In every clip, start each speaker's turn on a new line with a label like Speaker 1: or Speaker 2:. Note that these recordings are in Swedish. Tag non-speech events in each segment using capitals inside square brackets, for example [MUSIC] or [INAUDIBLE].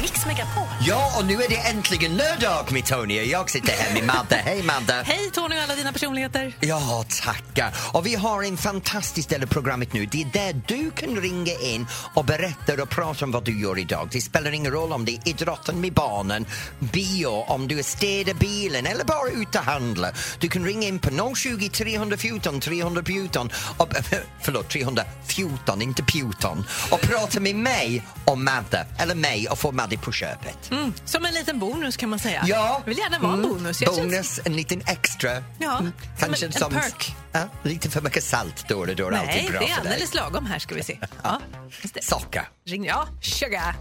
Speaker 1: Mix Megapol.
Speaker 2: Ja, och nu är det äntligen lördag med Tony och jag sitter här med Madde. Hej Madde!
Speaker 3: Hej Tony och alla dina personligheter.
Speaker 2: Ja, tackar. Och vi har en fantastisk del av programmet nu. Det är där du kan ringa in och berätta och prata om vad du gör idag. Det spelar ingen roll om det är idrotten med barnen, bio, om du är städar bilen eller bara ute och handla. Du kan ringa in på 020 314 314 och, [LAUGHS] förlåt, 314, inte Puton och prata med mig om Madde, eller mig och få Madde på köpet.
Speaker 3: Mm. Som en liten bonus kan man säga.
Speaker 2: Ja.
Speaker 3: Jag vill gärna vara en
Speaker 2: Mm.
Speaker 3: bonus. Jag känns-
Speaker 2: bonus, en liten extra. Mm.
Speaker 3: Ja, som
Speaker 2: Kanske
Speaker 3: en- en
Speaker 2: som...
Speaker 3: perk.
Speaker 2: Ja, lite för mycket salt då och då är
Speaker 3: Nej,
Speaker 2: alltid bra
Speaker 3: det är
Speaker 2: för dig.
Speaker 3: alldeles lagom här ska
Speaker 2: [LAUGHS]
Speaker 3: vi se. Ja. just det.
Speaker 2: Socker.
Speaker 3: Ring, ja, sugar.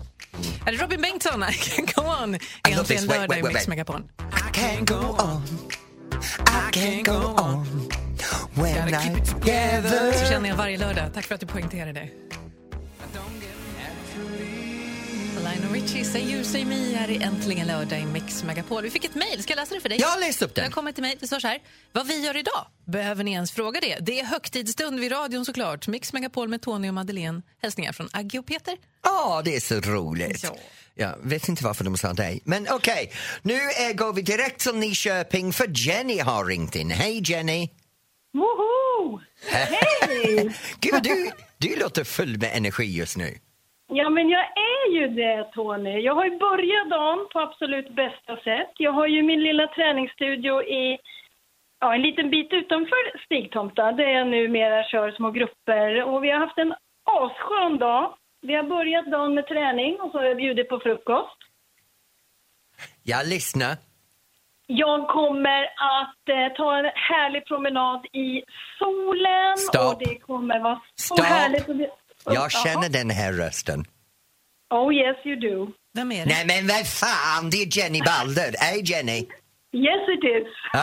Speaker 3: Är det Robin Bengtsson? [LAUGHS] I can go on.
Speaker 2: love this.
Speaker 3: Äntligen
Speaker 2: Wait,
Speaker 3: lördag
Speaker 2: wait,
Speaker 3: i
Speaker 2: wait, wait.
Speaker 3: Mix Megapol.
Speaker 2: I can't go on I can't go on Oh, When
Speaker 3: Gotta keep
Speaker 2: I
Speaker 3: it Så
Speaker 2: together
Speaker 3: känner jag varje lördag. Tack för att du poängterade det. Lionel Richie, Say You, Say Me här i Äntligen lördag i Mix Megapol. Vi fick ett mejl. Ska jag läsa det för dig?
Speaker 2: Jag läste upp
Speaker 3: Det har
Speaker 2: den.
Speaker 3: kommit till mig. Det står så här. Vad vi gör idag? Behöver ni ens fråga det? Det är högtidsstund vid radion såklart. Mix Megapol med Tony och Madeleine. Hälsningar från Agge och Peter.
Speaker 2: Ja, det är så roligt.
Speaker 3: Ja.
Speaker 2: Jag vet inte varför de sa dig. Men okej, nu eh, går vi direkt till Nyköping för Jenny har ringt in. Hej Jenny!
Speaker 4: Woho! Hej!
Speaker 2: [LAUGHS] Gud, vad du, du låter full med energi just nu.
Speaker 4: Ja, men jag är ju det, Tony. Jag har ju börjat dagen på absolut bästa sätt. Jag har ju min lilla träningsstudio i ja, en liten bit utanför Stigtomta där jag numera kör små grupper. Och vi har haft en asskön dag. Vi har börjat dagen med träning och så har jag bjudit på frukost.
Speaker 2: Jag lyssnar.
Speaker 4: Jag kommer att eh, ta en härlig promenad i solen
Speaker 2: Stopp.
Speaker 4: och det kommer vara så
Speaker 2: Stopp.
Speaker 4: härligt. Och det...
Speaker 2: Jag känner
Speaker 4: Jaha.
Speaker 2: den här rösten.
Speaker 4: Oh yes you do.
Speaker 3: Vem är det?
Speaker 2: Nej men vad fan, det är Jenny Balder. Hej Jenny!
Speaker 4: Yes it is.
Speaker 2: [LAUGHS]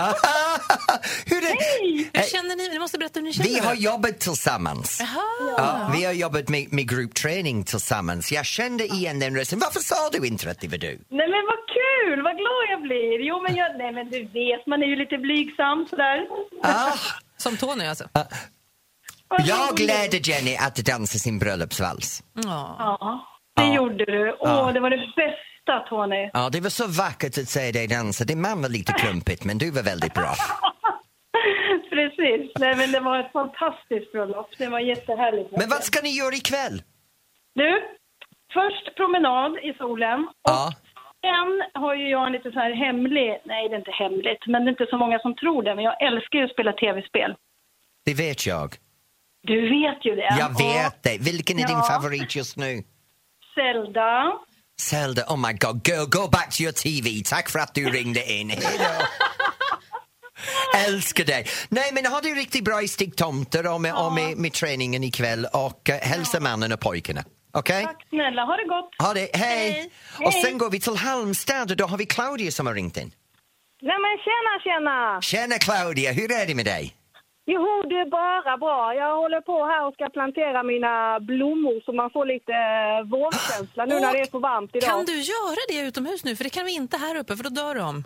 Speaker 2: Hur är...
Speaker 4: Hej!
Speaker 3: Hur känner ni? Ni måste berätta hur ni känner.
Speaker 2: Vi har jobbat tillsammans.
Speaker 3: Jaha.
Speaker 2: Ja, vi har jobbat med, med gruppträning tillsammans. Jag kände igen den rösten. Varför sa du inte att det var du?
Speaker 4: Nej men vad kul, vad glad jag blir. Jo men jag, nej men du vet, man är ju lite blygsam sådär.
Speaker 2: Ah,
Speaker 3: Som Tony alltså.
Speaker 4: Vad
Speaker 2: jag
Speaker 4: roligt.
Speaker 2: lärde Jenny att dansa sin bröllopsvals.
Speaker 3: Ja.
Speaker 4: Ja, det
Speaker 2: Ja. Ah.
Speaker 4: gjorde du. Åh,
Speaker 2: Ja.
Speaker 4: det var det bästa Tony. [LAUGHS]
Speaker 2: Ja, det var så vackert att se dig dansa. Din man var lite klumpigt, men du var väldigt
Speaker 4: [LAUGHS]
Speaker 2: bra.
Speaker 4: Precis, nej men det var ett fantastiskt bröllop. Det var jättehärligt.
Speaker 2: Men vad ska ni göra ikväll?
Speaker 4: Du, först promenad i solen. Och
Speaker 2: Ja.
Speaker 4: Sen har ju jag en lite så här hemlig, nej det är inte hemligt, men det är inte så många som tror det, men jag älskar ju att spela tv-spel.
Speaker 2: Det vet jag.
Speaker 4: Du vet ju det.
Speaker 2: Jag vet det. Vilken är din
Speaker 4: Ja.
Speaker 2: favorit just nu?
Speaker 4: Och Zelda.
Speaker 2: Zelda, oh my god, girl, go back to your TV. Tack för att du ringde in. Hejdå! Älskar dig. Nej, men ha det riktigt bra i Stigtomter och med, och med, med träningen ikväll och uh, hälsa mannen och pojkarna. Okej?
Speaker 4: Tack snälla, ha det gott.
Speaker 2: Ha det, hej.
Speaker 4: Hej.
Speaker 2: Och
Speaker 4: Hej.
Speaker 2: sen går vi till Halmstad och då har vi Claudia som har ringt in.
Speaker 5: Nej men tjena tjena!
Speaker 2: Tjena Claudia, hur är det med dig?
Speaker 5: Jo det är bara bra. Jag håller på här och ska plantera mina blommor så man får lite eh, vårkänsla nu när det är så varmt idag.
Speaker 3: Kan du göra det utomhus nu? För det kan vi inte här uppe för då dör de.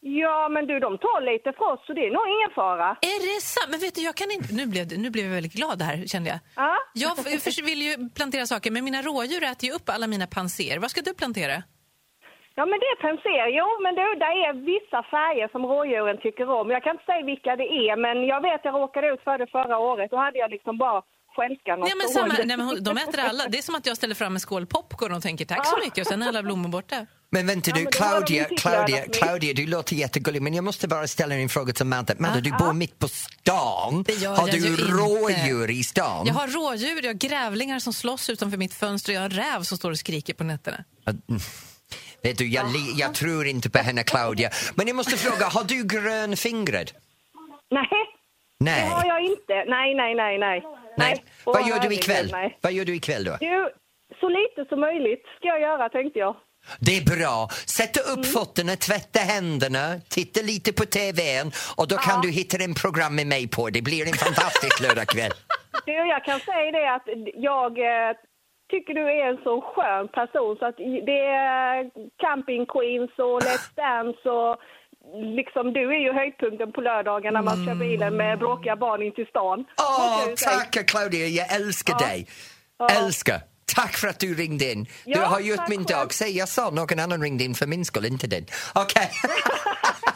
Speaker 5: Ja men du de tar lite frost så det är nog ingen fara.
Speaker 3: Är det sant? Men vet du, jag kan inte... Nu blev, det- nu blev jag väldigt glad här kände jag.
Speaker 5: Ja.
Speaker 3: Jag f- förs- vill ju plantera saker men mina rådjur äter ju upp alla mina panser. Vad ska du plantera?
Speaker 5: Ja men det är penser. Jo men du det är vissa färger som rådjuren tycker om. Jag kan inte säga vilka det är men jag vet jag råkade ut för det förra året. Då hade jag liksom bara skälkan och
Speaker 3: Nej, men
Speaker 5: stål.
Speaker 3: samma, nej, men hon- de äter alla. Det är som att jag ställer fram en skål popcorn och tänker tack så mycket och sen är alla blommor borta.
Speaker 2: Men vänta
Speaker 5: Ja,
Speaker 2: du,
Speaker 5: men det har de
Speaker 2: Claudia,
Speaker 5: inte
Speaker 2: Claudia,
Speaker 5: klarat mig.
Speaker 2: Claudia, du låter jättegullig men jag måste bara ställa en fråga till Madde. Madde, du bor mitt på stan.
Speaker 3: Det gör
Speaker 2: Har
Speaker 3: jag ju
Speaker 2: du
Speaker 3: inte.
Speaker 2: rådjur i stan?
Speaker 3: Jag har rådjur, jag har grävlingar som slåss utanför mitt fönster och jag har en räv som står och skriker på nätterna.
Speaker 2: [LAUGHS] Vet du, jag, li- jag tror inte på henne Claudia. Men jag måste fråga, har du grönfingret?
Speaker 5: [LAUGHS] Nej, det
Speaker 2: Nej.
Speaker 5: har jag inte. Nej nej nej nej.
Speaker 2: Nej.
Speaker 5: Åh,
Speaker 2: Vad gör du
Speaker 5: herregud,
Speaker 2: ikväll?
Speaker 5: nej. Mm.
Speaker 2: Vad gör du ikväll då?
Speaker 5: Du, så lite som möjligt ska jag göra tänkte jag.
Speaker 2: Det är bra. Sätta upp
Speaker 5: Mm.
Speaker 2: fötterna, tvätta händerna, titta lite på TVn och då kan du hitta en program med mig på. Det blir en fantastisk lördagkväll.
Speaker 5: Du, jag kan säga det att jag eh, tycker du är en så skön person så att i- det är camping queens och Let's Dance och liksom du är ju höjdpunkten på lördagen när man kör bilen med bråkiga barn in till stan.
Speaker 2: Åh,
Speaker 5: Måste jag ju säga.
Speaker 2: tackar Claudia, jag älskar dig. Älskar. Tack för att du ringde in. Du
Speaker 5: Ja,
Speaker 2: har gjort
Speaker 5: tack
Speaker 2: min
Speaker 5: själv.
Speaker 2: dag. Säg, jag sa någon annan ringde in för min skull, inte din. Okej.
Speaker 3: [LAUGHS]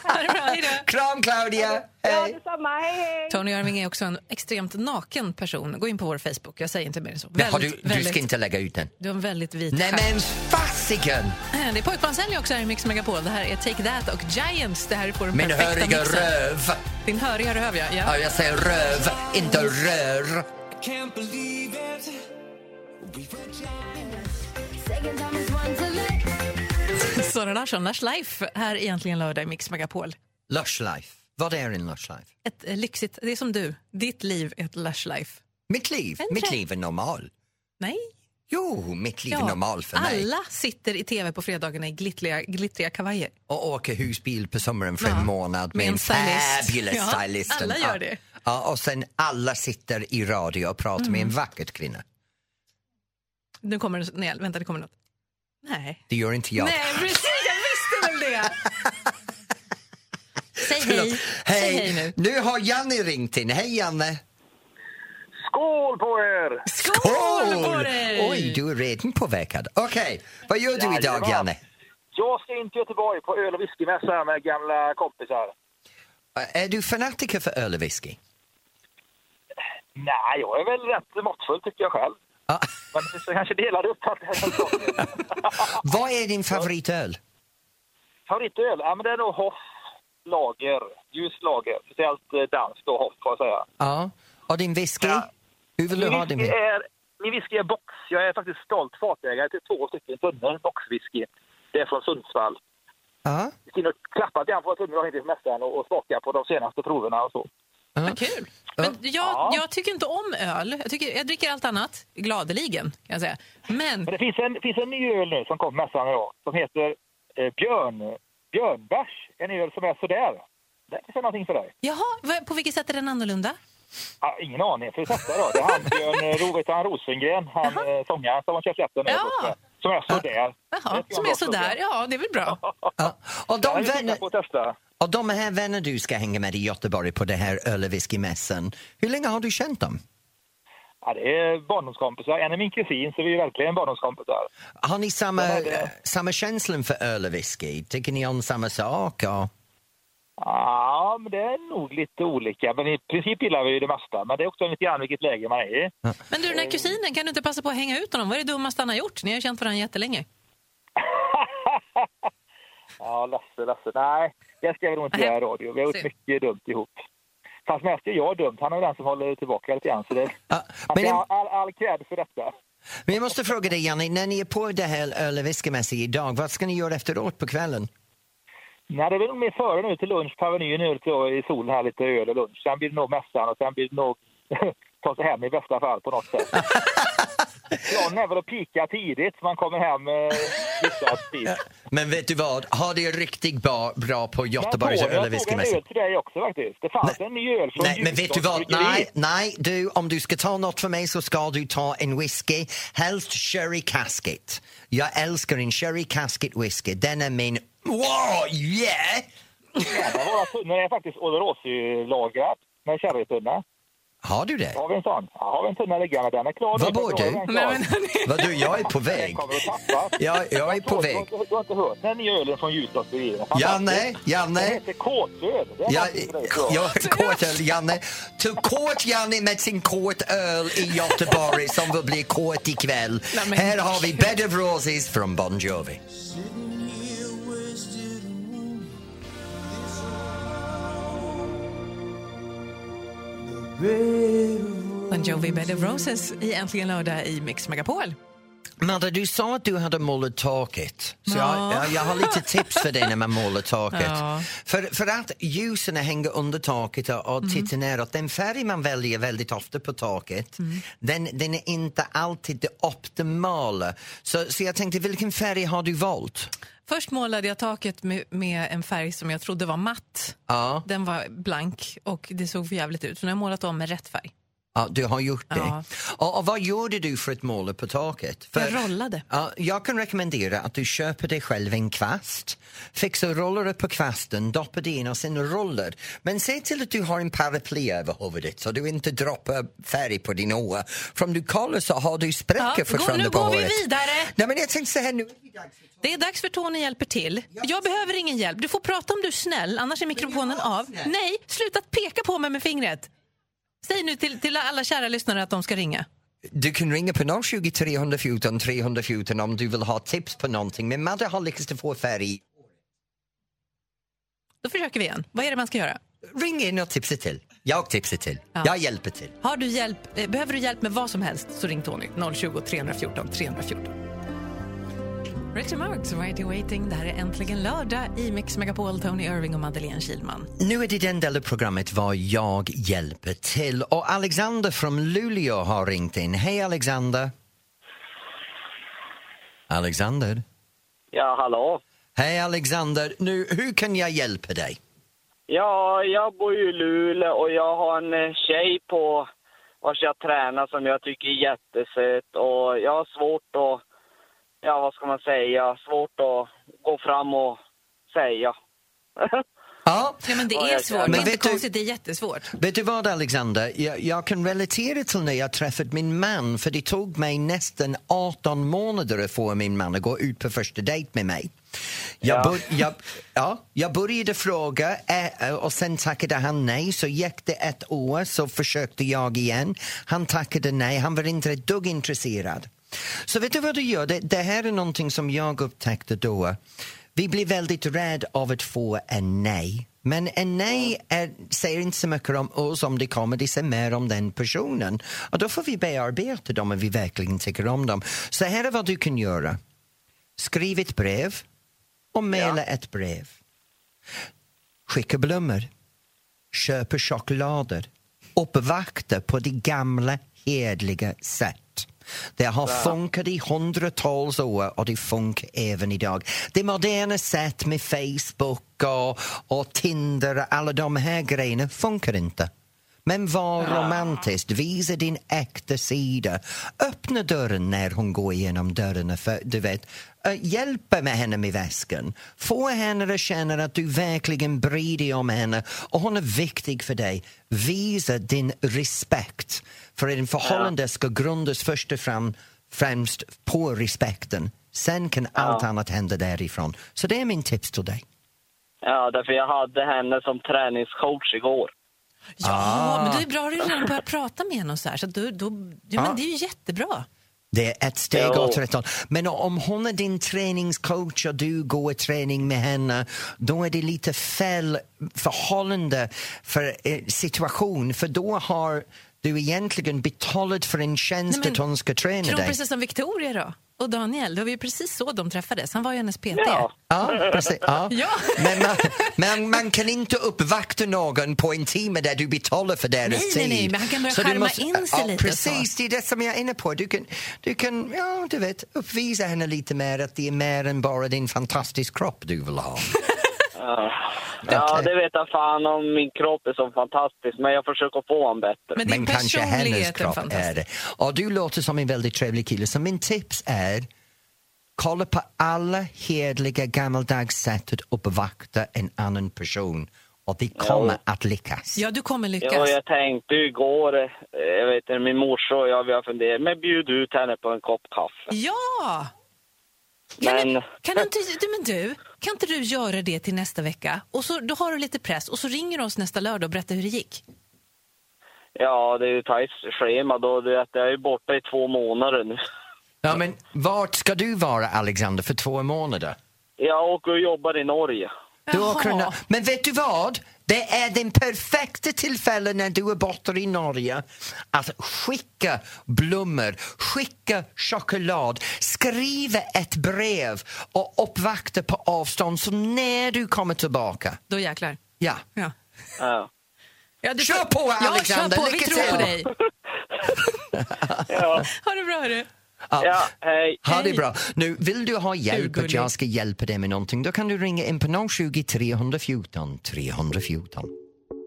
Speaker 3: Ha det bra, hej då.
Speaker 2: Kram Claudia!
Speaker 5: Ja,
Speaker 2: Hej!
Speaker 5: detsamma. Hej, hej!
Speaker 3: Tony Irving är också en extremt naken person. Gå in på vår Facebook, jag säger inte mer än så.
Speaker 2: Men har du,
Speaker 3: Väldigt,
Speaker 2: du
Speaker 3: väldigt-
Speaker 2: ska inte lägga ut den.
Speaker 3: du har en väldigt vit
Speaker 2: Nej
Speaker 3: stjärt.
Speaker 2: men fasiken!
Speaker 3: Det är pojkbandshelg också här i Mix Megapol. Det här är Take That och Giants. Det här får den
Speaker 2: Min
Speaker 3: perfekta
Speaker 2: höriga
Speaker 3: mixen.
Speaker 2: röv.
Speaker 3: Din höriga röv, ja. ja.
Speaker 2: Ja, jag säger röv, inte rör.
Speaker 3: [LAUGHS] Sara Larsson, Lars Life, här egentligen lördag i Mix Megapol.
Speaker 2: Lush life. Vad är en lush life?
Speaker 3: Ett eh, lyxigt, det är som du. Ditt liv är ett Lush Life.
Speaker 2: Mitt liv,
Speaker 3: En
Speaker 2: mitt
Speaker 3: trä-
Speaker 2: liv är normal.
Speaker 3: Nej.
Speaker 2: Jo, mitt liv är
Speaker 3: Ja,
Speaker 2: normal för mig.
Speaker 3: Alla sitter i tv på fredagarna i glittriga, glittriga kavajer.
Speaker 2: Och åker husbil på sommaren för
Speaker 3: Ja,
Speaker 2: en månad med
Speaker 3: med en
Speaker 2: en
Speaker 3: stylist.
Speaker 2: fabulous
Speaker 3: Ja,
Speaker 2: stylist.
Speaker 3: alla
Speaker 2: Ja.
Speaker 3: gör det.
Speaker 2: Ja, och sen alla sitter i radio och pratar med en
Speaker 3: Mm.
Speaker 2: vacker kvinna.
Speaker 3: Nu kommer det, nej, vänta det kommer något. Nej.
Speaker 2: Det gör inte jag.
Speaker 3: Nej, precis, jag visste väl det!
Speaker 2: [LAUGHS]
Speaker 3: Säg hej. Säg hej nu.
Speaker 2: nu har Janne ringt in. Hej Janne!
Speaker 6: Skål på er!
Speaker 3: Skål, på dig!
Speaker 2: Oj, du är redan påverkad. Okej, vad gör du idag
Speaker 6: Jajamän.
Speaker 2: Janne?
Speaker 6: Jag ska in till Göteborg på öl och whiskymässa med gamla kompisar.
Speaker 2: Är du fanatiker för öl
Speaker 6: [LAUGHS]
Speaker 2: och whisky?
Speaker 6: Nej, jag är väl rätt måttfull tycker jag själv.
Speaker 2: Ja.
Speaker 6: Men det finns kanske delade uppfattningar.
Speaker 2: Vad är din favoritöl?
Speaker 6: Favoritöl? Ja, men det är nog Hoff lager, ljus lager. Speciellt eh, danskt och Hoff får jag säga.
Speaker 2: Ja. Och din whisky?
Speaker 6: Ja.
Speaker 2: Hur vill du ha din
Speaker 6: whisky
Speaker 2: whisky?
Speaker 6: är, min whisky är box. Jag är faktiskt stolt fatägare till två stycken tunnor boxwhisky. Det är från Sundsvall.
Speaker 2: Ja.
Speaker 6: Vi ska in och klappa lite grann på tunnor och inte till mästaren och, och smaka på de senaste proverna och så.
Speaker 3: Vad kul. Men jag, jag tycker inte om öl. Jag, tycker, jag dricker allt annat gladeligen. Kan jag säga. Men
Speaker 6: Men det finns en, finns en ny öl nu som kom mässan idag som heter eh, Björn, Björnbärs. En öl som är sådär. Det kanske är någonting för dig.
Speaker 3: jaha, vad- på vilket sätt är den annorlunda?
Speaker 6: Ah, ingen aning. Får vi testa då? Det är han Björn
Speaker 3: [LAUGHS]
Speaker 6: eh, Ro- vet han, Rosengren, han eh, sångaren som har kört lätten öl
Speaker 3: Ja.
Speaker 6: också, Som är sådär.
Speaker 3: Jaha,
Speaker 6: Det
Speaker 3: som är
Speaker 6: jag
Speaker 3: sådär.
Speaker 6: också.
Speaker 3: Ja, det är väl
Speaker 6: [LAUGHS]
Speaker 3: bra.
Speaker 2: Ja. Och,
Speaker 6: Ja,
Speaker 2: de
Speaker 6: vi tittar
Speaker 2: vänner,
Speaker 6: på att testa.
Speaker 2: och de här vänner du ska hänga med i Göteborg på det här öl och whiskymässan, hur länge har du känt dem?
Speaker 6: Ja, det är barndomskompisar. En är min kusin, så vi är verkligen barndomskompisar.
Speaker 2: Har ni samma,
Speaker 6: Ja, det-
Speaker 2: Eh, samma känslan för öl och whisky? Tycker ni om samma sak? Och...
Speaker 6: Ja, men det är nog lite olika. Men i princip gillar vi ju det mesta. Men det är också lite grann vilket läge man är i.
Speaker 3: Men du, den här kusinen, kan du inte passa på att hänga ut honom? Vad är det dummaste han har gjort? Ni har ju känt varandra jättelänge.
Speaker 6: Ja, Lasse, Lasse. Nej, det ska vi nog inte
Speaker 3: Nej.
Speaker 6: göra i radio. Vi har gjort
Speaker 3: Synd.
Speaker 6: mycket dumt ihop. Fast mest är jag dumt. Han är väl den som håller tillbaka lite grann. Så det,
Speaker 2: Ja,
Speaker 6: han
Speaker 2: men-
Speaker 6: ska ha all, all cred för detta.
Speaker 2: Men jag måste fråga dig Janne, när ni är på det här öl och whiskymässan idag, vad ska ni göra efteråt på kvällen?
Speaker 6: Nej, det blir nog mer före nu till lunch på Avenyn nu till, i solen här lite öl och lunch. Sen blir det nog mässan och sen blir det nog [LAUGHS] ta sig hem i bästa fall på något
Speaker 2: [LAUGHS]
Speaker 6: sätt. Planen är väl att pika tidigt så man kommer hem eh, hyfsat tid.
Speaker 2: Men vet du vad, ha det riktigt bra, bra på
Speaker 6: Men
Speaker 2: Göteborgs
Speaker 6: Tony,
Speaker 2: öl
Speaker 6: jag
Speaker 2: och
Speaker 6: tog en
Speaker 2: whiskymässan.
Speaker 6: öl till dig också faktiskt. Det fanns en ny öl från
Speaker 2: Nej, men vet du vad?
Speaker 6: Ljusdals bryggeri.
Speaker 2: Nej, nej, du, om du ska ta något för mig så ska du ta en whisky, helst sherry casket. Jag älskar en sherry casket whisky, den är min... Wow, yeah!
Speaker 6: Ja, våra tunnor är faktiskt Olorosi-lagrad med sherrytunna.
Speaker 2: Har du det?
Speaker 6: Har vi en sån? Ja, har vi en tunna liggande. Den är klar.
Speaker 2: Vad bor du?
Speaker 6: Den är
Speaker 3: Nej,
Speaker 6: klar.
Speaker 3: men, hörni,
Speaker 2: [LAUGHS] Vad du, jag är på väg.
Speaker 6: Den kommer att tappas.
Speaker 2: Jag, jag är på
Speaker 6: Du har
Speaker 2: väg.
Speaker 6: inte- Du har inte hört den nya ölen från Ljusdals bryggeri? Den är fantastisk.
Speaker 2: Janne,
Speaker 6: Den
Speaker 2: Janne.
Speaker 6: heter Kåtöl. Det är
Speaker 2: Jag,
Speaker 6: faktiskt för dig, tror jag.
Speaker 2: jag, kort öl, Janne. Till kort Janne med sin kort öl i Göteborg som vill bli kort ikväll.
Speaker 3: Nej, men-
Speaker 2: Här har vi Bed of Roses från Bon Jovi.
Speaker 3: Bon Jovi, Bed of Roses i Äntligen lördag i Mix Megapol.
Speaker 2: Madde, du sa att du hade målat taket. Så
Speaker 3: Ja.
Speaker 2: jag, jag, jag har lite tips för dig när man
Speaker 3: [LAUGHS]
Speaker 2: målar taket.
Speaker 3: Ja.
Speaker 2: För, för att ljusen hänger under taket och,
Speaker 3: Mm.
Speaker 2: och tittar neråt. Den färg man väljer väldigt ofta på taket,
Speaker 3: Mm.
Speaker 2: den, den är inte alltid det optimala. Så, så jag tänkte, vilken färg har du valt?
Speaker 3: Först målade jag taket med, med en färg som jag trodde var matt.
Speaker 2: Ja.
Speaker 3: Den var blank och det såg för jävligt ut. Så nu har jag målat om med rätt färg.
Speaker 2: Ja, du har gjort det.
Speaker 3: Ja.
Speaker 2: Och, och vad gjorde du för ett mål på taket? För,
Speaker 3: Jag rollade.
Speaker 2: Ja, jag kan rekommendera att du köper dig själv en kvast, fixar rollare på kvasten, doppar det in och sen rollar. Men se till att du har en paraply över huvudet så du inte droppar färg på din åa. För om du kollar så har du spräckor
Speaker 3: Ja, gå-
Speaker 2: fortfarande
Speaker 3: nu
Speaker 2: på
Speaker 3: går vi
Speaker 2: håret.
Speaker 3: vidare.
Speaker 2: Nej, men jag tänkte så här nu.
Speaker 3: Det är dags för Tony hjälper till. Jag behöver ingen hjälp. Du får prata om du är snäll, annars är mikrofonen
Speaker 2: jag var
Speaker 3: av.
Speaker 2: snäll.
Speaker 3: Nej, sluta att peka på mig med fingret. Säg nu till, till alla kära lyssnare att de ska ringa.
Speaker 2: Du kan ringa på 020 314 314 om du vill ha tips på någonting. Men Madde har lyckats att få färg.
Speaker 3: Då försöker vi igen. Vad är det man ska göra?
Speaker 2: Ring in och tipsa till. Jag tipsar till.
Speaker 3: Ja.
Speaker 2: Jag hjälper till.
Speaker 3: Har du hjälp, eh, behöver du hjälp med vad som helst så ring Tony 020 314 314. Richard Marks, Right Away Waiting. Det här är äntligen lördag i Mix Megapol. Tony Irving och Madeleine Kilman.
Speaker 2: Nu är det den delen av programmet var jag hjälper till. Och Alexander från Luleå har ringt in. Hej Alexander! Alexander?
Speaker 7: Ja, hallå.
Speaker 2: Hej Alexander! Nu, hur kan jag hjälpa dig?
Speaker 7: Ja, jag bor ju i Luleå och jag har en eh, tjej på vars jag tränar som jag tycker är jättesöt och jag har svårt att, ja vad ska man säga, svårt att gå fram och säga. [LAUGHS]
Speaker 2: Ja,
Speaker 3: Ja, men det
Speaker 7: Ja,
Speaker 3: är
Speaker 7: jag-
Speaker 3: svårt.
Speaker 7: Men
Speaker 3: det är inte
Speaker 2: vet du-
Speaker 3: konstigt, det är jättesvårt.
Speaker 2: Vet du vad Alexander, jag, jag kan relatera till när jag träffade min man för det tog mig nästan 18 månader att få min man att gå ut på första dejt med mig. Jag,
Speaker 7: Ja.
Speaker 2: bör, jag, ja, jag började fråga eh, eh, och sen tackade han nej. Så gick det ett år så försökte jag igen. Han tackade nej, han var inte ett dugg intresserad. Så vet du vad du gör? Det, det här är någonting som jag upptäckte då. Vi blir väldigt rädda av att få en nej. Men en nej är, säger inte så mycket om oss om det kommer, det säger mer om den personen. Och då får vi bearbeta dem om vi verkligen tycker om dem. Så här är vad du kan göra. Skriv ett brev och mejla ett brev. Skicka blommor. Köpa choklader. Uppvakta på det gamla hederliga sätt. Det har funkat i hundratals år och det funkar även idag. Det moderna sätt med Facebook och, och Tinder och alla de här grejerna funkar inte. Men var romantisk, visa din äkta sida. Öppna dörren när hon går igenom dörren. För, du vet, eh, hjälpa med henne med väskan. Få henne att känna att du verkligen bryr dig om henne och hon är viktig för dig. Visa din respekt. För en förhållande ska grundas först och fram, främst på respekten. Sen kan allt annat hända därifrån. Så det är min tips till dig.
Speaker 7: Ja, därför jag hade henne som träningscoach igår.
Speaker 3: Ja,
Speaker 2: Ah.
Speaker 3: men det är bra att du redan börjar prata med henne och så här. Så att du, då, ja, men
Speaker 2: Ja.
Speaker 3: det är ju jättebra.
Speaker 2: Det är ett steg
Speaker 7: Jo.
Speaker 2: åt rätt håll. Men om hon är din träningscoach och du går träning med henne, då är det lite fel förhållande för eh, situation, för då har du egentligen betalat för en tjänst
Speaker 3: Nej, men
Speaker 2: att hon ska träna
Speaker 3: Tror
Speaker 2: dig.
Speaker 3: precis som Victoria då. Och Daniel, det var ju precis så de träffades. Han var ju hennes PT. [LAUGHS]
Speaker 7: Ja.
Speaker 2: Ja, precis. Ja.
Speaker 3: Ja.
Speaker 2: Men, man, men man kan inte uppvakta någon på en timme där du betalar för deras
Speaker 3: Nej,
Speaker 2: tid.
Speaker 3: nej, nej, men han kan börja
Speaker 2: Så du
Speaker 3: charma in sig
Speaker 2: ja,
Speaker 3: lite och
Speaker 2: Precis, det är det som jag är inne på. Du kan, du kan ja, du vet, uppvisa henne lite mer att det är mer än bara din fantastiska kropp du vill ha.
Speaker 7: Ja,
Speaker 2: Okej.
Speaker 7: det vet jag fan om min kropp är så fantastisk, men jag försöker få en bättre.
Speaker 3: [LAUGHS] Men din
Speaker 2: Men kanske hennes
Speaker 3: personlighet är
Speaker 2: kropp
Speaker 3: fantastisk.
Speaker 2: är det. Och du låter som en väldigt trevlig kille, så min tips är kolla på alla hederliga gammaldags sätt att uppvakta en annan person och vi kommer att lyckas.
Speaker 3: Ja, du kommer lyckas.
Speaker 7: Ja, jag tänkte ju igår, eh, jag vet inte, min morsa och jag vi har funderat, men bjud ut henne på en kopp kaffe.
Speaker 3: Ja! Kan,
Speaker 7: Men,
Speaker 3: du, kan, du inte, du, men du, kan inte du göra det till nästa vecka? Och så, då har du lite press och så ringer du oss nästa lördag och berättar hur det gick.
Speaker 7: ja, det är ju tajt schema då, det är att jag är borta i två månader nu.
Speaker 2: Ja, men vart ska du vara, Alexander, för två månader?
Speaker 7: Jag åker och jobbar i Norge.
Speaker 2: Du
Speaker 3: Jaha.
Speaker 2: åker en- men vet du vad? Det är den perfekta tillfället när du är borta i Norge att skicka blommor, skicka choklad, skriva ett brev och uppvakta på avstånd. Så när du kommer tillbaka,
Speaker 3: Då jäklar.
Speaker 2: ja.
Speaker 3: Ja.
Speaker 7: Ja,
Speaker 3: Ja, du
Speaker 2: Kör
Speaker 3: får-
Speaker 2: på, Alexander.
Speaker 3: Ja, kör på. Vi
Speaker 2: Lycka
Speaker 3: tror på
Speaker 2: till.
Speaker 3: dig.
Speaker 7: ja,
Speaker 3: Ha det bra, hörru.
Speaker 7: ja hej.
Speaker 2: [LAUGHS] Ha det
Speaker 3: Hej.
Speaker 2: bra. Nu, vill du ha hjälp att
Speaker 3: gullig.
Speaker 2: jag ska hjälpa dig med någonting då kan du ringa in på 020 314 314.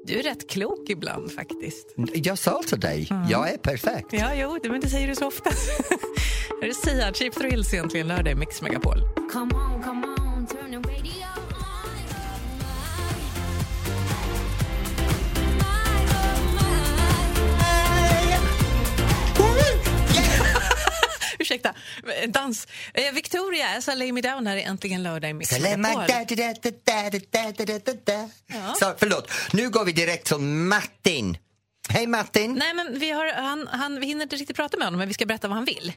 Speaker 3: Du är rätt klok ibland faktiskt.
Speaker 2: Jag sa till dig, jag är perfekt.
Speaker 3: Ja, jo, det, men det säger du så ofta. [LAUGHS] Här är Sia, Cheap Thrills egentligen lördag i Mix Megapol.
Speaker 8: Come on, come on, turn the radio on.
Speaker 3: Ursäkta, eh, dans. Eh, Victoria, as I lay me down, här är äntligen lördag i Mix
Speaker 2: Salema,
Speaker 3: Megapol.
Speaker 2: da, da, da, da, da, da, da, da, da, da. Så, förlåt, nu går vi direkt till Martin. Hej Martin,
Speaker 3: Nej, men vi, har, han, han, vi hinner inte riktigt prata med honom, men vi ska berätta vad han vill.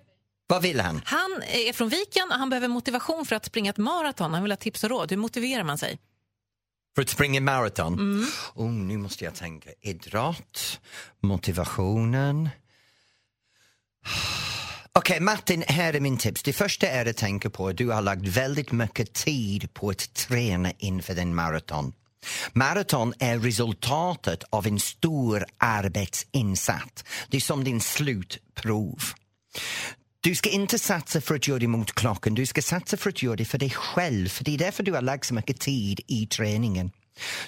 Speaker 2: vad vill han?
Speaker 3: Han är från Viken och han behöver motivation för att springa ett maraton. Han vill ha tips och råd. Hur motiverar man sig?
Speaker 2: För att springa maraton? Oh, nu måste jag tänka. Idrott, motivationen. Okej, Martin, här är min tips. Det första är att tänka på att du har lagt väldigt mycket tid på att träna inför din maraton. Maraton är resultatet av en stor arbetsinsats. Det är som din slutprov. Du ska inte satsa för att göra det mot klockan, du ska satsa för att göra det för dig själv. För Det är därför du har lagt så mycket tid i träningen.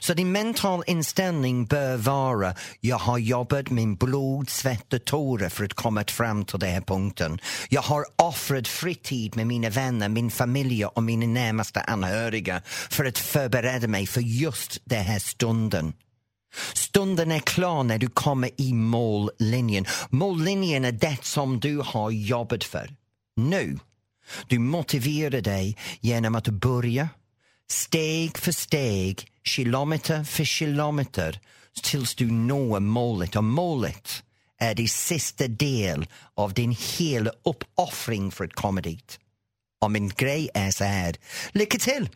Speaker 2: Så din mental inställning bör vara jag har jobbat med blod, svett och tårar för att komma fram till den här punkten. Jag har offrat fritid med mina vänner, min familj och mina närmaste anhöriga för att förbereda mig för just den här stunden. Stunden är klar när du kommer i mållinjen. Mållinjen är det som du har jobbat för. Nu. Du motiverar dig genom att börja steg för steg, kilometer för kilometer tills du når målet. Och målet är det sista del av din hela uppoffring för att komma dit. Och min grej är så här, lycka till!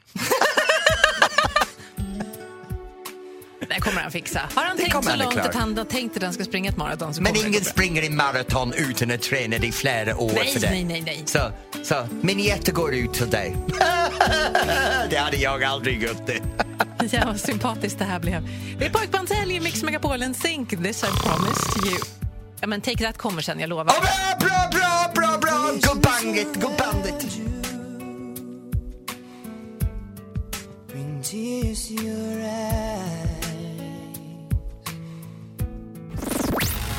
Speaker 3: Det här kommer han fixa. Har han
Speaker 2: Det
Speaker 3: tänkt
Speaker 2: kommer
Speaker 3: så
Speaker 2: han, det är
Speaker 3: långt
Speaker 2: klart.
Speaker 3: att han har tänkt att han ska springa ett maraton så
Speaker 2: Men
Speaker 3: kommer det
Speaker 2: ingen
Speaker 3: gå bra.
Speaker 2: springer i maraton utan att träna i flera år
Speaker 3: Nej,
Speaker 2: för det.
Speaker 3: nej, nej, nej.
Speaker 2: Så, så min hjärta går ut till dig. det hade jag aldrig gjort det.
Speaker 3: [LAUGHS] Ja, vad sympatiskt det här blev. Det är pojkbandshelg i Mix Megapolen Sync. This I promised you. Ja, men Take That kommer sen, jag lovar.
Speaker 2: Oh, bra, bra, bra, bra, bra! Good banget, good bandet.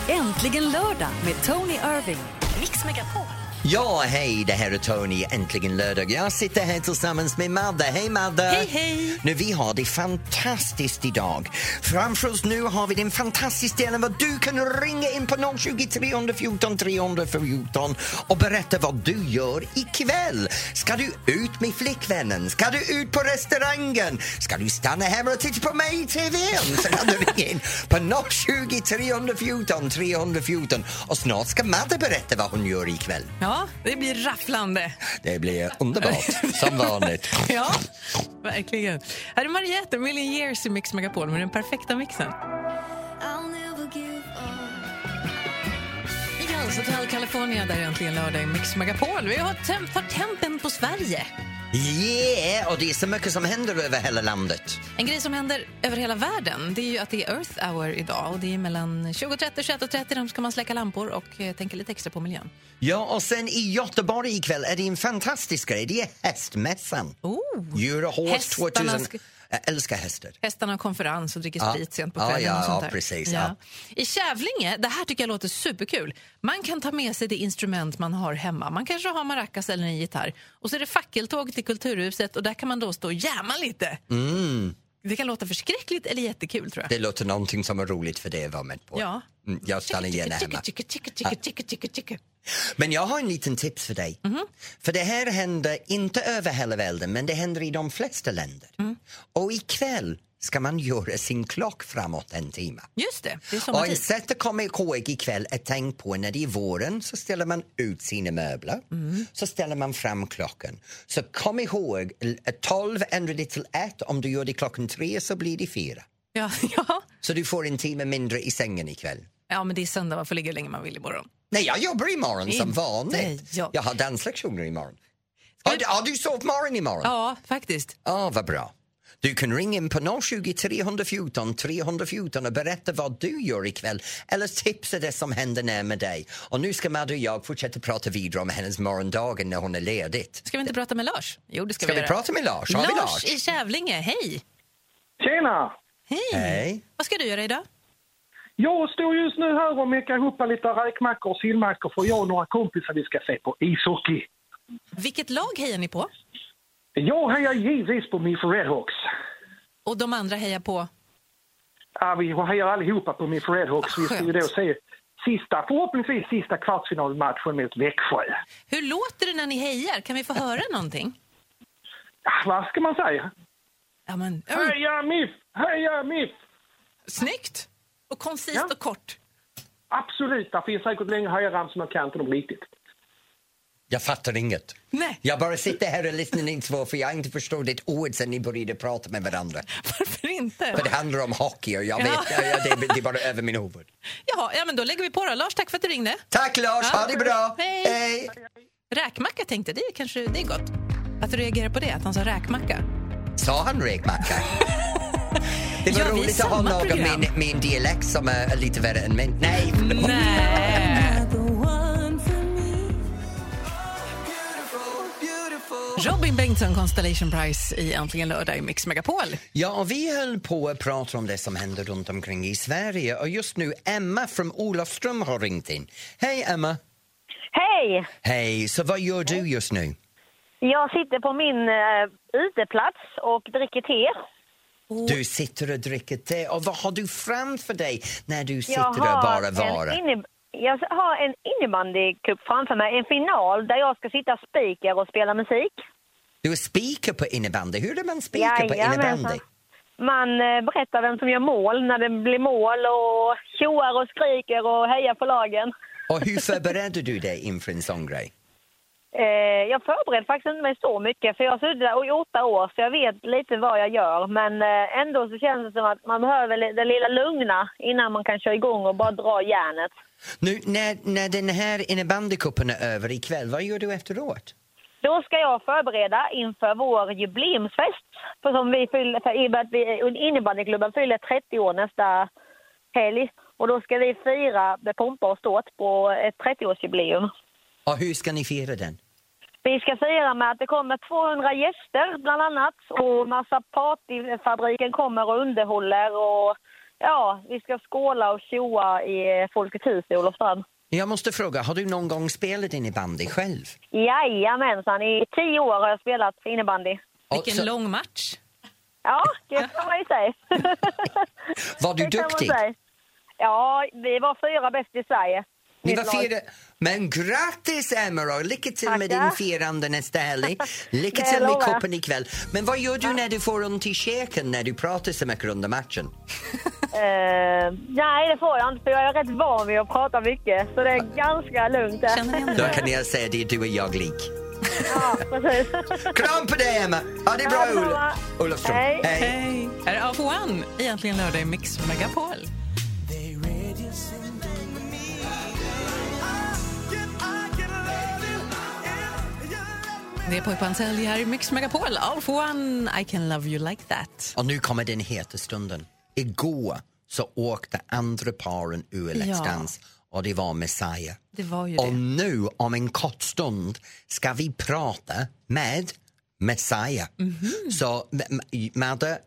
Speaker 1: Äntligen lördag med Tony Irving. Mix Megapol.
Speaker 2: Ja, hej, det här är Tony, äntligen lördag. Jag sitter här tillsammans med Madde. Hej, Madde!
Speaker 3: Hej, hej.
Speaker 2: Nu, vi har det fantastiskt idag. Framför oss nu har vi den fantastiska delen vad du kan ringa in på 020 314 314 och berätta vad du gör ikväll. Ska du ut med flickvännen? Ska du ut på restaurangen? Ska du stanna hemma och titta på mig i TVn? Så kan du [LAUGHS] ringa in på 020 314 314 och snart ska Madde berätta vad hon gör ikväll.
Speaker 3: Ja, det blir rafflande.
Speaker 2: Det blir
Speaker 3: [LAUGHS]
Speaker 2: underbart, som vanligt.
Speaker 3: Ja, verkligen. Här är Mariette, A Million Years i Mix Megapol med den perfekta mixen.
Speaker 8: I'll never give up.
Speaker 3: Jens Hotel California, där är äntligen lördag i Mix Megapol. Vi har tem- tar tempen på Sverige.
Speaker 2: Yeah, och det är så mycket som händer över hela landet.
Speaker 3: En grej som händer över hela världen det är ju att det är Earth hour idag. Och Det är mellan 20.30 och 21.30. Då ska man släcka lampor och eh, tänka lite extra på miljön.
Speaker 2: Ja, och sen i Göteborg ikväll är det en fantastisk grej. Det är hästmässan.
Speaker 3: Oh.
Speaker 2: Eurohorse
Speaker 3: Hästarna
Speaker 2: 2000.
Speaker 3: ska-
Speaker 2: Jag älskar hästar.
Speaker 3: Hästarna har konferens och dricker
Speaker 2: Ja.
Speaker 3: sprit sent på
Speaker 2: Ja,
Speaker 3: kvällen.
Speaker 2: ja,
Speaker 3: och sånt
Speaker 2: ja,
Speaker 3: där.
Speaker 2: precis, ja.
Speaker 3: I Kävlinge, det här tycker jag låter superkul. Man kan ta med sig det instrument man har hemma. Man kanske har maracas eller en gitarr. Och så är det fackeltåg till Kulturhuset och där kan man då stå och jamma lite. Det kan låta förskräckligt eller jättekul tror jag.
Speaker 2: Mm. Det låter någonting som är roligt för dig att vara med på.
Speaker 3: Ja.
Speaker 2: Mm, jag stannar gärna hemma. Men jag har en liten tips för dig.
Speaker 3: Mhm.
Speaker 2: För det här händer inte över hela världen, men det händer i de flesta länder.
Speaker 3: Mm.
Speaker 2: Och ikväll ska man göra sin klock framåt en timme.
Speaker 3: Just det,
Speaker 2: Och
Speaker 3: det är
Speaker 2: ett
Speaker 3: sommartid.
Speaker 2: sätt att komma ihåg ikväll är tänk på när det är våren så ställer man ut sina möbler,
Speaker 3: Mm.
Speaker 2: så ställer man fram klockan. Så kom ihåg, l- 12 ändrar det till 1, om du gör det klockan 3 så blir det 4.
Speaker 3: Ja, [LAUGHS] ja.
Speaker 2: Så du får en timme mindre i sängen ikväll.
Speaker 3: ja, men det är söndag. Man får ligga hur länge man vill imorgon.
Speaker 2: Nej, jag jobbar imorgon som
Speaker 3: Inte
Speaker 2: vanligt.
Speaker 3: jag.
Speaker 2: Jag har danslektioner imorgon. Har du, har du sovmorgon imorgon?
Speaker 3: Ja, faktiskt.
Speaker 2: Ah, vad bra. Du kan ringa in på 020 314 314 och berätta vad du gör ikväll eller tipsa det som händer närmare dig. Och nu ska Madde och jag fortsätta prata vidare om hennes morgondagar när hon är ledigt.
Speaker 3: Ska vi inte prata med Lars? Jo, det ska,
Speaker 2: Ska vi
Speaker 3: göra.
Speaker 2: prata med Lars? Har vi
Speaker 3: Lars,
Speaker 2: Lars?
Speaker 3: i Kävlinge, hej!
Speaker 6: Tjena!
Speaker 3: Hej!
Speaker 2: Hej.
Speaker 3: Vad ska du göra idag?
Speaker 9: Jag står just nu här och meckar ihop lite räkmackor och sillmackor för jag och några kompisar vi ska se på ishockey.
Speaker 3: Vilket lag hejar ni på?
Speaker 9: Jag hejar givetvis på Miff Redhawks.
Speaker 3: Och de andra hejar på?
Speaker 9: Ja, vi hejar allihopa på Miff Redhawks. Vi ska ju då se sista, förhoppningsvis sista kvartsfinalmatchen mot Växjö.
Speaker 3: Hur låter det när ni hejar? Kan vi få höra
Speaker 2: [LAUGHS]
Speaker 3: någonting?
Speaker 9: Ja, vad ska man säga?
Speaker 3: Ja, men, oj,
Speaker 9: Heja Miff! Heja Miff!
Speaker 3: snyggt! Och koncist
Speaker 9: Ja.
Speaker 3: och kort.
Speaker 9: Absolut, det finns säkert längre hejaramsor man kan inte dem riktigt.
Speaker 2: Jag fattar inget.
Speaker 3: Nej,
Speaker 2: Jag bara sitter här och lyssnar in två för jag har inte förstått ett ord sen ni började prata med
Speaker 3: [LAUGHS]
Speaker 2: varandra.
Speaker 3: varför inte?
Speaker 2: För det handlar om hockey och jag vet,
Speaker 3: Ja.
Speaker 2: ja. det, det är bara över min huvud.
Speaker 3: Jaha, ja, men då lägger vi på då. Lars, tack för att du ringde.
Speaker 2: Tack Lars, ha det bra!
Speaker 3: Hej. Räkmacka tänkte jag, det är kanske det är gott. Att du reagerar på det, att han sa räkmacka.
Speaker 2: Sa han räkmacka? Det var
Speaker 3: Ja, vi är
Speaker 2: roligt att ha
Speaker 3: samma
Speaker 2: någon med
Speaker 3: program.
Speaker 2: en- med en dialekt som är lite värre än min. Nej, förlåt.
Speaker 3: Nej. Robin Bengtsson, Constellation Prize i Äntligen lördag i Mix Megapol.
Speaker 2: Ja, och vi höll på att prata om det som händer runt omkring i Sverige och just nu Emma från Olofström har ringt in. Hej Emma!
Speaker 10: Hej!
Speaker 2: Hej, så vad gör du just nu?
Speaker 10: Jag sitter på min eh, uteplats och dricker te. Oh.
Speaker 2: Du sitter och dricker te och vad har du framför dig när du sitter
Speaker 10: Jag
Speaker 2: och bara
Speaker 10: en,
Speaker 2: vara?
Speaker 10: inne, jag har en innebandycup framför mig, en final där jag ska sitta speaker och spela musik.
Speaker 2: Du är speaker på innebandy, hur är det man speaker på
Speaker 10: Jajamensan.
Speaker 2: innebandy?
Speaker 10: Man eh, berättar vem som gör mål när det blir mål och tjoar och skriker och hejar på lagen.
Speaker 2: Och hur förbereder du dig inför en sån grej?
Speaker 10: Eh, jag förbereder faktiskt inte mig så mycket för jag har suttit där i åtta år så jag vet lite vad jag gör. Men eh, ändå så känns det som att man behöver li- det lilla lugna innan man kan köra igång och bara dra järnet.
Speaker 2: Nu när, när den här innebandycupen är över ikväll, vad gör du efteråt?
Speaker 10: Då ska jag förbereda inför vår jubileumsfest. För som vi fyller, för i och med att vi, innebandyklubben fyller 30 år nästa helg. Och då ska vi fira med pompa och ståt på ett 30-årsjubileum.
Speaker 2: Och hur ska ni fira den?
Speaker 10: Vi ska fira med att det kommer 200 gäster bland annat. Och massa partyfabriken kommer och underhåller. Och ja, vi ska skåla och tjoa i Folkets hus i Olofström.
Speaker 2: Jag måste fråga, har du någon gång spelat innebandy själv?
Speaker 10: Jajamensan, i tio år har jag spelat innebandy.
Speaker 2: Och
Speaker 3: Vilken
Speaker 2: så-
Speaker 3: lång match.
Speaker 10: Ja, det kan man ju säga.
Speaker 2: Var du
Speaker 10: Det kan man
Speaker 2: duktig?
Speaker 10: säga. Ja, vi var fyra bäst i Sverige.
Speaker 2: Ni var
Speaker 10: Mitt lag.
Speaker 2: fyra. Men grattis Emma och lycka till med din
Speaker 10: Tackar.
Speaker 2: firande nästa
Speaker 10: [LAUGHS]
Speaker 2: helg. Lycka
Speaker 10: Det
Speaker 2: till med
Speaker 10: lovar jag.
Speaker 2: cupen ikväll. Men vad gör du när du får ont i käken när du pratar så mycket under matchen?
Speaker 10: Eh, nej, det får jag inte för jag är rätt van vid att prata mycket. Så det är ganska lugnt. där.
Speaker 3: Känner igen
Speaker 2: Då
Speaker 3: det.
Speaker 2: kan jag säga det, du och jag lik.
Speaker 10: Ja, precis. [LAUGHS]
Speaker 2: Kram på dig Emma! Ha det
Speaker 10: Ha
Speaker 2: bra
Speaker 10: det
Speaker 2: Olof.
Speaker 10: bra.
Speaker 2: Olofström.
Speaker 10: Hej.
Speaker 2: Hej.
Speaker 3: Hej! Här är Av One, egentligen lördag i Mix Megapol. Det är Pojkban Sälj här i Mix Megapol. All for one, I can love you like that.
Speaker 2: Och nu kommer den heta stunden. Igår så åkte andra paren ur Let's
Speaker 3: Ja.
Speaker 2: Dance och det var Messiah.
Speaker 3: Det var ju
Speaker 2: Och
Speaker 3: det.
Speaker 2: nu om en kort stund ska vi prata med Messiah.
Speaker 3: Mhm.
Speaker 2: Så M- M- Madde,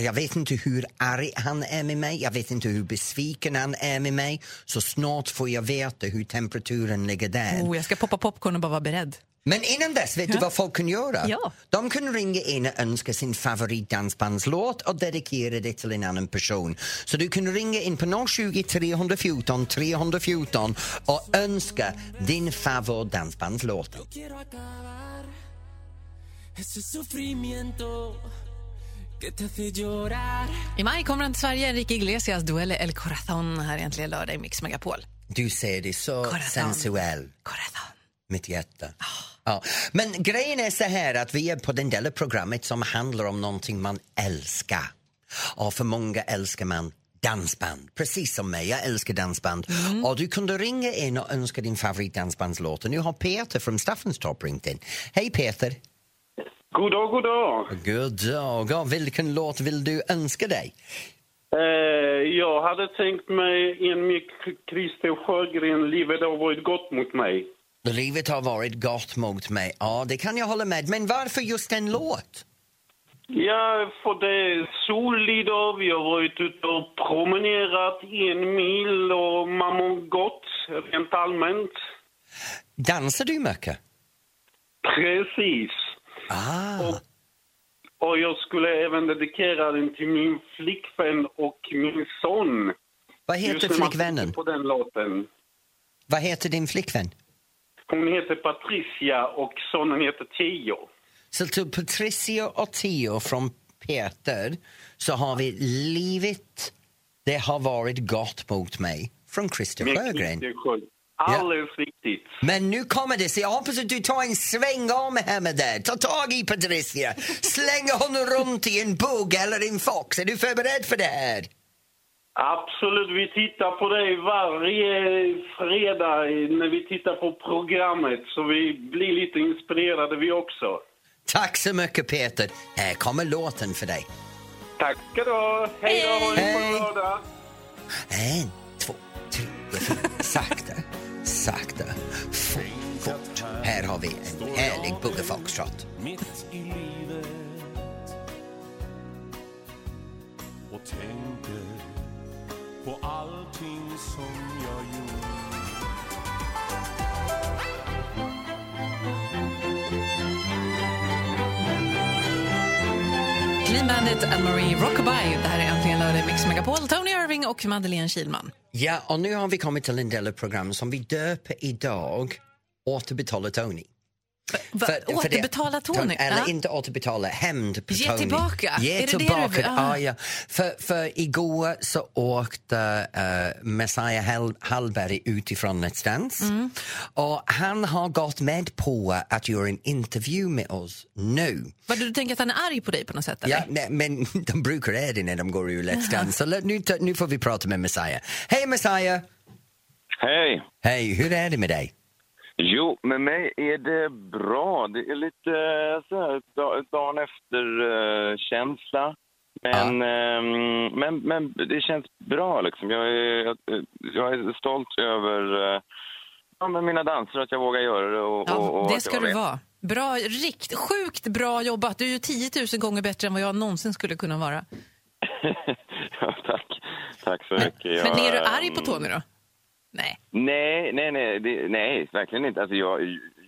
Speaker 2: jag vet inte hur arg han är med mig, jag vet inte hur besviken han är med mig. Så snart får jag veta hur temperaturen ligger där.
Speaker 3: Oh, jag ska poppa popcorn och bara vara beredd.
Speaker 2: Men innan dess, vet du vad folk kan göra?
Speaker 3: Ja.
Speaker 2: De kan ringa in och önska sin favoritdansbandslåt och dedikera det till en annan person. Så du kan ringa in på 020 314 314 och önska din favoritdansbandslåt.
Speaker 3: I maj kommer han till Sverige, Enrique Iglesias Duelle El Corazon här äntligen lördag i Mix Megapol.
Speaker 2: Du ser det så
Speaker 3: Corazon.
Speaker 2: sensuell.
Speaker 3: Corazon. Ah.
Speaker 2: mitt hjärta. Ja. Men grejen är så här att vi är på den del av programmet som handlar om någonting man älskar. Och för många älskar man dansband, precis som mig. Jag älskar dansband.
Speaker 3: Mm.
Speaker 2: Och du kunde ringa in och önska din favoritdansbandslåt. Och Nu har Peter från Staffanstorp ringt in. Hej Peter!
Speaker 11: God dag, god dag.
Speaker 2: God dag! Och vilken låt vill du önska dig?
Speaker 11: Eh, jag hade tänkt mig en med K- Christer Sjögren, Livet har varit gott mot mig.
Speaker 2: Livet har varit gott mot mig. Ja, det kan jag hålla med. Men varför just en låt?
Speaker 11: Ja, för det sol idag. Vi har varit ute och promenerat en mil och man mår gott rent allmänt.
Speaker 2: Dansar du mycket?
Speaker 11: Precis.
Speaker 2: Ah.
Speaker 11: Och, och jag skulle även dedikera den till min flickvän och min son.
Speaker 2: Vad heter
Speaker 11: Just när man
Speaker 2: flickvännen?
Speaker 11: tänker På den låten.
Speaker 2: Vad heter din flickvän?
Speaker 11: Hon heter Patricia och sonen heter Theo.
Speaker 2: Så till Patricio och Theo från Peter så har vi Livet det har varit gott mot mig från Christer
Speaker 11: Med
Speaker 2: Sjögren.
Speaker 11: Christer Sjögren. Alldeles riktigt.
Speaker 2: Men nu kommer det, så jag hoppas att du tar en sväng om hemma där. Ta tag i Patricia, släng honom runt i en bugg eller en fox. Är du förberedd för det här?
Speaker 11: Absolut, vi tittar på dig varje fredag när vi tittar på programmet så vi blir lite inspirerade vi också.
Speaker 2: Tack så mycket Peter. Här kommer låten för dig.
Speaker 11: Tack ska du ha! Hej då! Ha en
Speaker 2: Hej.
Speaker 11: bra lördag!
Speaker 2: En, två, tre, fyra. Sakta, sakta, fort, fort. Här har vi en härlig buggefoxtrot.
Speaker 12: mitt i livet och tänker på allting som jag gjort.
Speaker 3: Clean Bandit and Marie Rockabye. Det här är Äntligen lördag i Mix Megapol. Tony Irving och Madeleine Kilman.
Speaker 2: Ja, och nu har vi kommit till en del av programmet som vi döper idag Återbetala Tony.
Speaker 3: Va, återbetala Tony?
Speaker 2: Eller
Speaker 3: Ja.
Speaker 2: inte återbetala, hämnd på
Speaker 3: Ge
Speaker 2: Tony.
Speaker 3: tillbaka.
Speaker 2: Ge
Speaker 3: Är det det du
Speaker 2: tillbaka.
Speaker 3: vill? Ah.
Speaker 2: Ja, ja. För, för igår så åkte uh, Messiah Hall- Hallberg utifrån Let's Dance
Speaker 3: Mm.
Speaker 2: och han har gått med på att göra en intervju med oss nu.
Speaker 3: Vad, du tänker att han är arg på dig på något sätt? Eller?
Speaker 2: Ja, nej, men [LAUGHS] de brukar är det när de går ur Let's
Speaker 3: Jaha.
Speaker 2: Dance. Så let- nu, ta- nu får vi prata med Messiah. Hej Messiah!
Speaker 13: Hej!
Speaker 2: Hej, hur är det med dig?
Speaker 13: Jo, med mig är det bra. Det är lite eh, så här, da- dagen efter-känsla. men, ehm, men, men det känns bra. Liksom. Jag, är, jag- jag är stolt över eh, ja, men mina danser, att jag vågar göra det. Och, och, och
Speaker 3: Det
Speaker 13: att
Speaker 3: ska
Speaker 13: jag
Speaker 3: du
Speaker 13: med.
Speaker 3: vara. Bra, rikt, sjukt bra jobbat. Du är ju 10 000 gånger bättre än vad jag någonsin skulle kunna vara.
Speaker 13: [LAUGHS] ja, tack. tack så mycket. Jag,
Speaker 3: Men är du arg
Speaker 13: ehm,
Speaker 3: på Tony då?
Speaker 13: Nej, nej, nej, det, nej, verkligen inte. Alltså jag,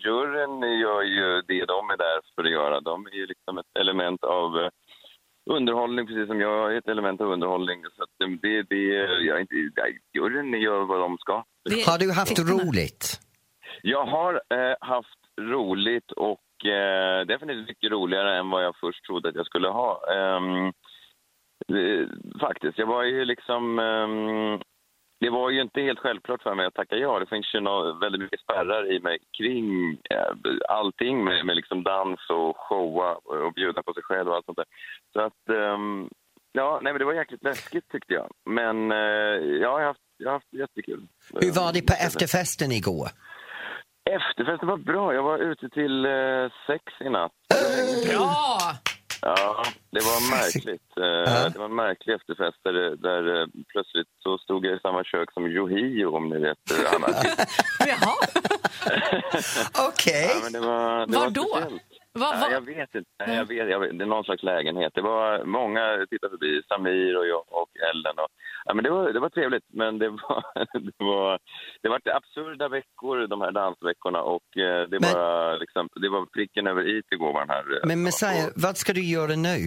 Speaker 13: juryn gör ju det de är där för att göra. De är ju liksom ett element av eh, underhållning, precis som jag är ett element av underhållning. Så att det, det, det, jag är inte, nej, juryn gör vad de ska.
Speaker 2: Har du haft roligt?
Speaker 13: Jag har eh, haft roligt och eh, definitivt mycket roligare än vad jag först trodde att jag skulle ha. Ehm, eh, faktiskt, jag var ju liksom... ehm, det var ju inte helt självklart för mig att tacka ja. Det finns ju nå- väldigt mycket spärrar i mig kring eh, allting med, med liksom dans och showa och bjuda på sig själv och allt sånt där. Så att, ehm, ja, nej men det var jäkligt läskigt tyckte jag. Men eh, jag, har haft, jag har haft jättekul. Eh,
Speaker 2: Hur var det på efterfesten igår?
Speaker 13: Efterfesten var bra. Jag var ute till eh, sex i natt.
Speaker 7: [LAUGHS]
Speaker 3: Bra!
Speaker 13: Ja, det var märkligt. Eh, Det var en märklig efterfest där, det- där eh, plötsligt så stod jag i samma kök som Yohio, om ni vet. eh, Han
Speaker 2: Okej.
Speaker 13: Ja, men det var, det
Speaker 3: Var
Speaker 13: var
Speaker 3: då?
Speaker 13: speciellt.
Speaker 3: Va- va-
Speaker 13: Nej, jag vet inte. Nej, jag vet, jag vet, det är någon slags lägenhet. Det var många tittade förbi. Samir och jag och Ellen. Och, ja, men det, var, det var trevligt, men det var... [LAUGHS] Det var det var absurda veckor, de här dansveckorna. Och eh, det, bara, liksom, det var pricken över i igår var den här... eh,
Speaker 2: Men Messiah, vad ska du göra nu?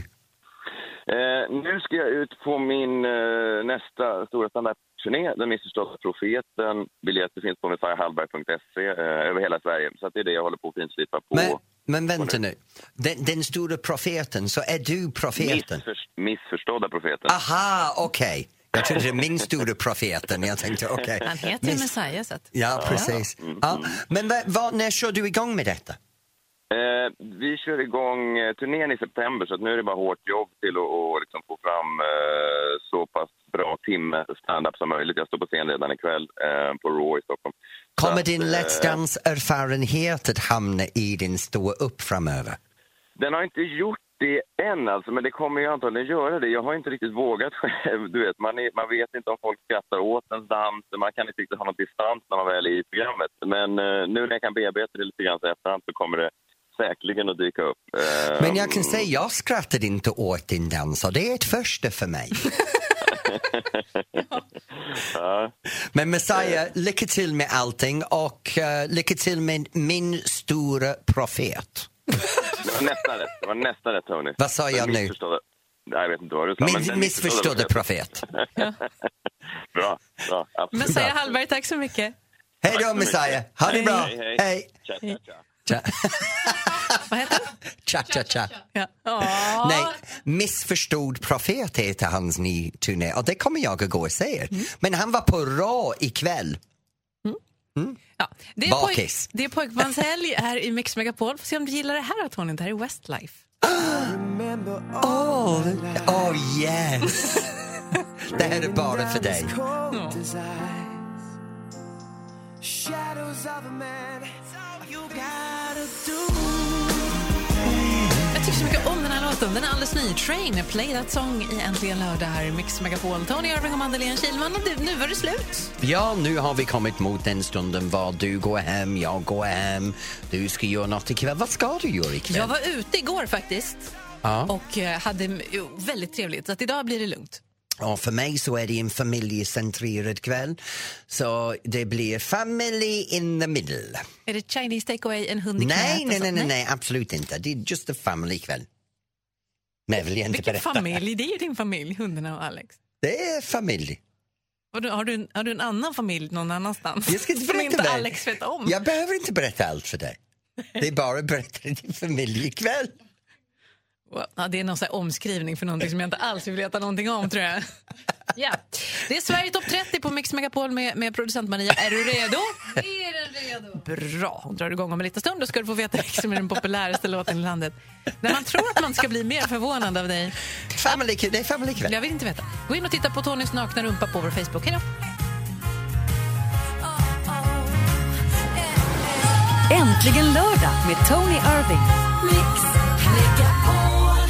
Speaker 13: Eh, nu ska jag ut på min eh, nästa stora standardturné, Den missförstådda profeten. Biljetter finns på messiahallberg.se eh, över hela Sverige. Så att det är det jag håller på att finslipa på.
Speaker 2: Men, men vänta nu. Den, den stora profeten, så är du profeten?
Speaker 13: Missförs- missförstådda profeten.
Speaker 2: Ah. Aha, okej. Jag trodde det var min stora profeten. Jag tänkte okej.
Speaker 3: Han heter ju
Speaker 2: Miss-
Speaker 3: Messiah. Så att...
Speaker 2: Ja, precis.
Speaker 13: Mm.
Speaker 2: Ja. Men vad- vad- när kör du igång med detta?
Speaker 13: Eh, vi kör igång eh, turnén i september, så att nu är det bara hårt jobb till att och liksom få fram eh, så pass bra timme stand-up som möjligt. Jag står på scen redan ikväll eh, på Raw i Stockholm.
Speaker 2: Kommer
Speaker 13: Så att,
Speaker 2: din Let's
Speaker 13: eh,
Speaker 2: Dance-erfarenhet att hamna i din stå upp framöver?
Speaker 13: Den har inte gjort det än, alltså, men det kommer ju antagligen göra det. Jag har inte riktigt vågat själv. Du vet, man, är, man vet inte om folk skrattar åt ens dans. Man kan inte riktigt ha någon distans när man väl är i programmet. Men eh, nu när jag kan bearbeta det lite grann så efterhand så kommer det säkerligen att dyka upp. Eh,
Speaker 2: Men jag kan säga, jag skrattade inte åt din dans och det är ett första för mig.
Speaker 3: [LAUGHS]
Speaker 13: ja.
Speaker 2: Men Messiah, lycka till med allting och uh, lycka till med min stora profet.
Speaker 13: Det var nästan rätt. Det var nästan rätt, Tony.
Speaker 2: Vad sa jag
Speaker 13: Den
Speaker 2: nu?
Speaker 13: missförstådda- Nej, jag vet inte vad du sa. men
Speaker 2: Min
Speaker 13: den
Speaker 2: missförstådda profet.
Speaker 13: [LAUGHS] bra, bra. absolut.
Speaker 3: Messiah Hallberg, tack så mycket.
Speaker 2: Hej då Messiah, ha det bra.
Speaker 13: Hej, hej.
Speaker 2: Hej.
Speaker 13: Tja, tja, tja.
Speaker 2: Tja. [LAUGHS] Tja, tja, tja.
Speaker 3: Ja. [LAUGHS] Åh.
Speaker 2: Nej, Missförstådd profet heter hans ny turné och det kommer jag att gå och se. Men han var på Raw ikväll. Mm.
Speaker 3: Det är,
Speaker 2: Bakis.
Speaker 3: pojk, det är pojkbandshelg här i Mix Megapol. Får se om du gillar det här, Tony. Det här är Westlife.
Speaker 2: Ah! Oh, oh [LAUGHS] yes! det här är bara för dig.
Speaker 14: Shadows of a man. You gotta do.
Speaker 3: Jag tycker så mycket om den här låten. Den är alldeles ny. Train, play that song i Äntligen lördag här i Mix Megapol. Tony Irving och Madeleine Kihlman. Och du, nu var det slut.
Speaker 2: Ja, nu har vi kommit mot den stunden var du går hem, jag går hem. Du ska göra något ikväll. Vad ska du göra ikväll?
Speaker 3: Jag var ute igår faktiskt
Speaker 2: Ja.
Speaker 3: och eh, hade m- jo, väldigt trevligt. Så att idag blir det lugnt.
Speaker 2: Ja, för mig så är det en familjecentrerad kväll. Så det blir family in the middle.
Speaker 3: Är det Chinese takeaway, en hund i knät
Speaker 2: Nej,
Speaker 3: och
Speaker 2: nej,
Speaker 3: så?
Speaker 2: nej, nej, nej, absolut inte. Det är just en family kväll. Men jag vill inte
Speaker 3: Vilken
Speaker 2: berätta.
Speaker 3: familj? Det är ju din familj, hundarna och Alex.
Speaker 2: Det är familj.
Speaker 3: Har du, har, du en, har du en annan familj någon annanstans?
Speaker 2: Jag ska inte
Speaker 3: Som
Speaker 2: berätta
Speaker 3: inte
Speaker 2: det.
Speaker 3: Alex vet om?
Speaker 2: Jag behöver inte berätta allt för dig. Det är bara att berätta det till familjekväll.
Speaker 3: Ja, det är någon sån här omskrivning för någonting som jag inte alls vill veta någonting om tror jag. [LAUGHS] Ja. Det är Sverige topp 30 på Mix Megapol med, med producent Maria. Är du [LAUGHS] redo?
Speaker 14: Är den redo?
Speaker 3: Bra, hon drar igång om en liten stund. Då ska du få veta liksom är den populäraste [LAUGHS] låten i landet. När man tror att man ska bli mer förvånad av dig.
Speaker 2: Family, det är family kväll.
Speaker 3: Jag vill inte veta. Gå in och titta på Tonys nakna rumpa på vår Facebook. Hej då.
Speaker 1: Äntligen lördag med Tony Irving. Mix Megapol.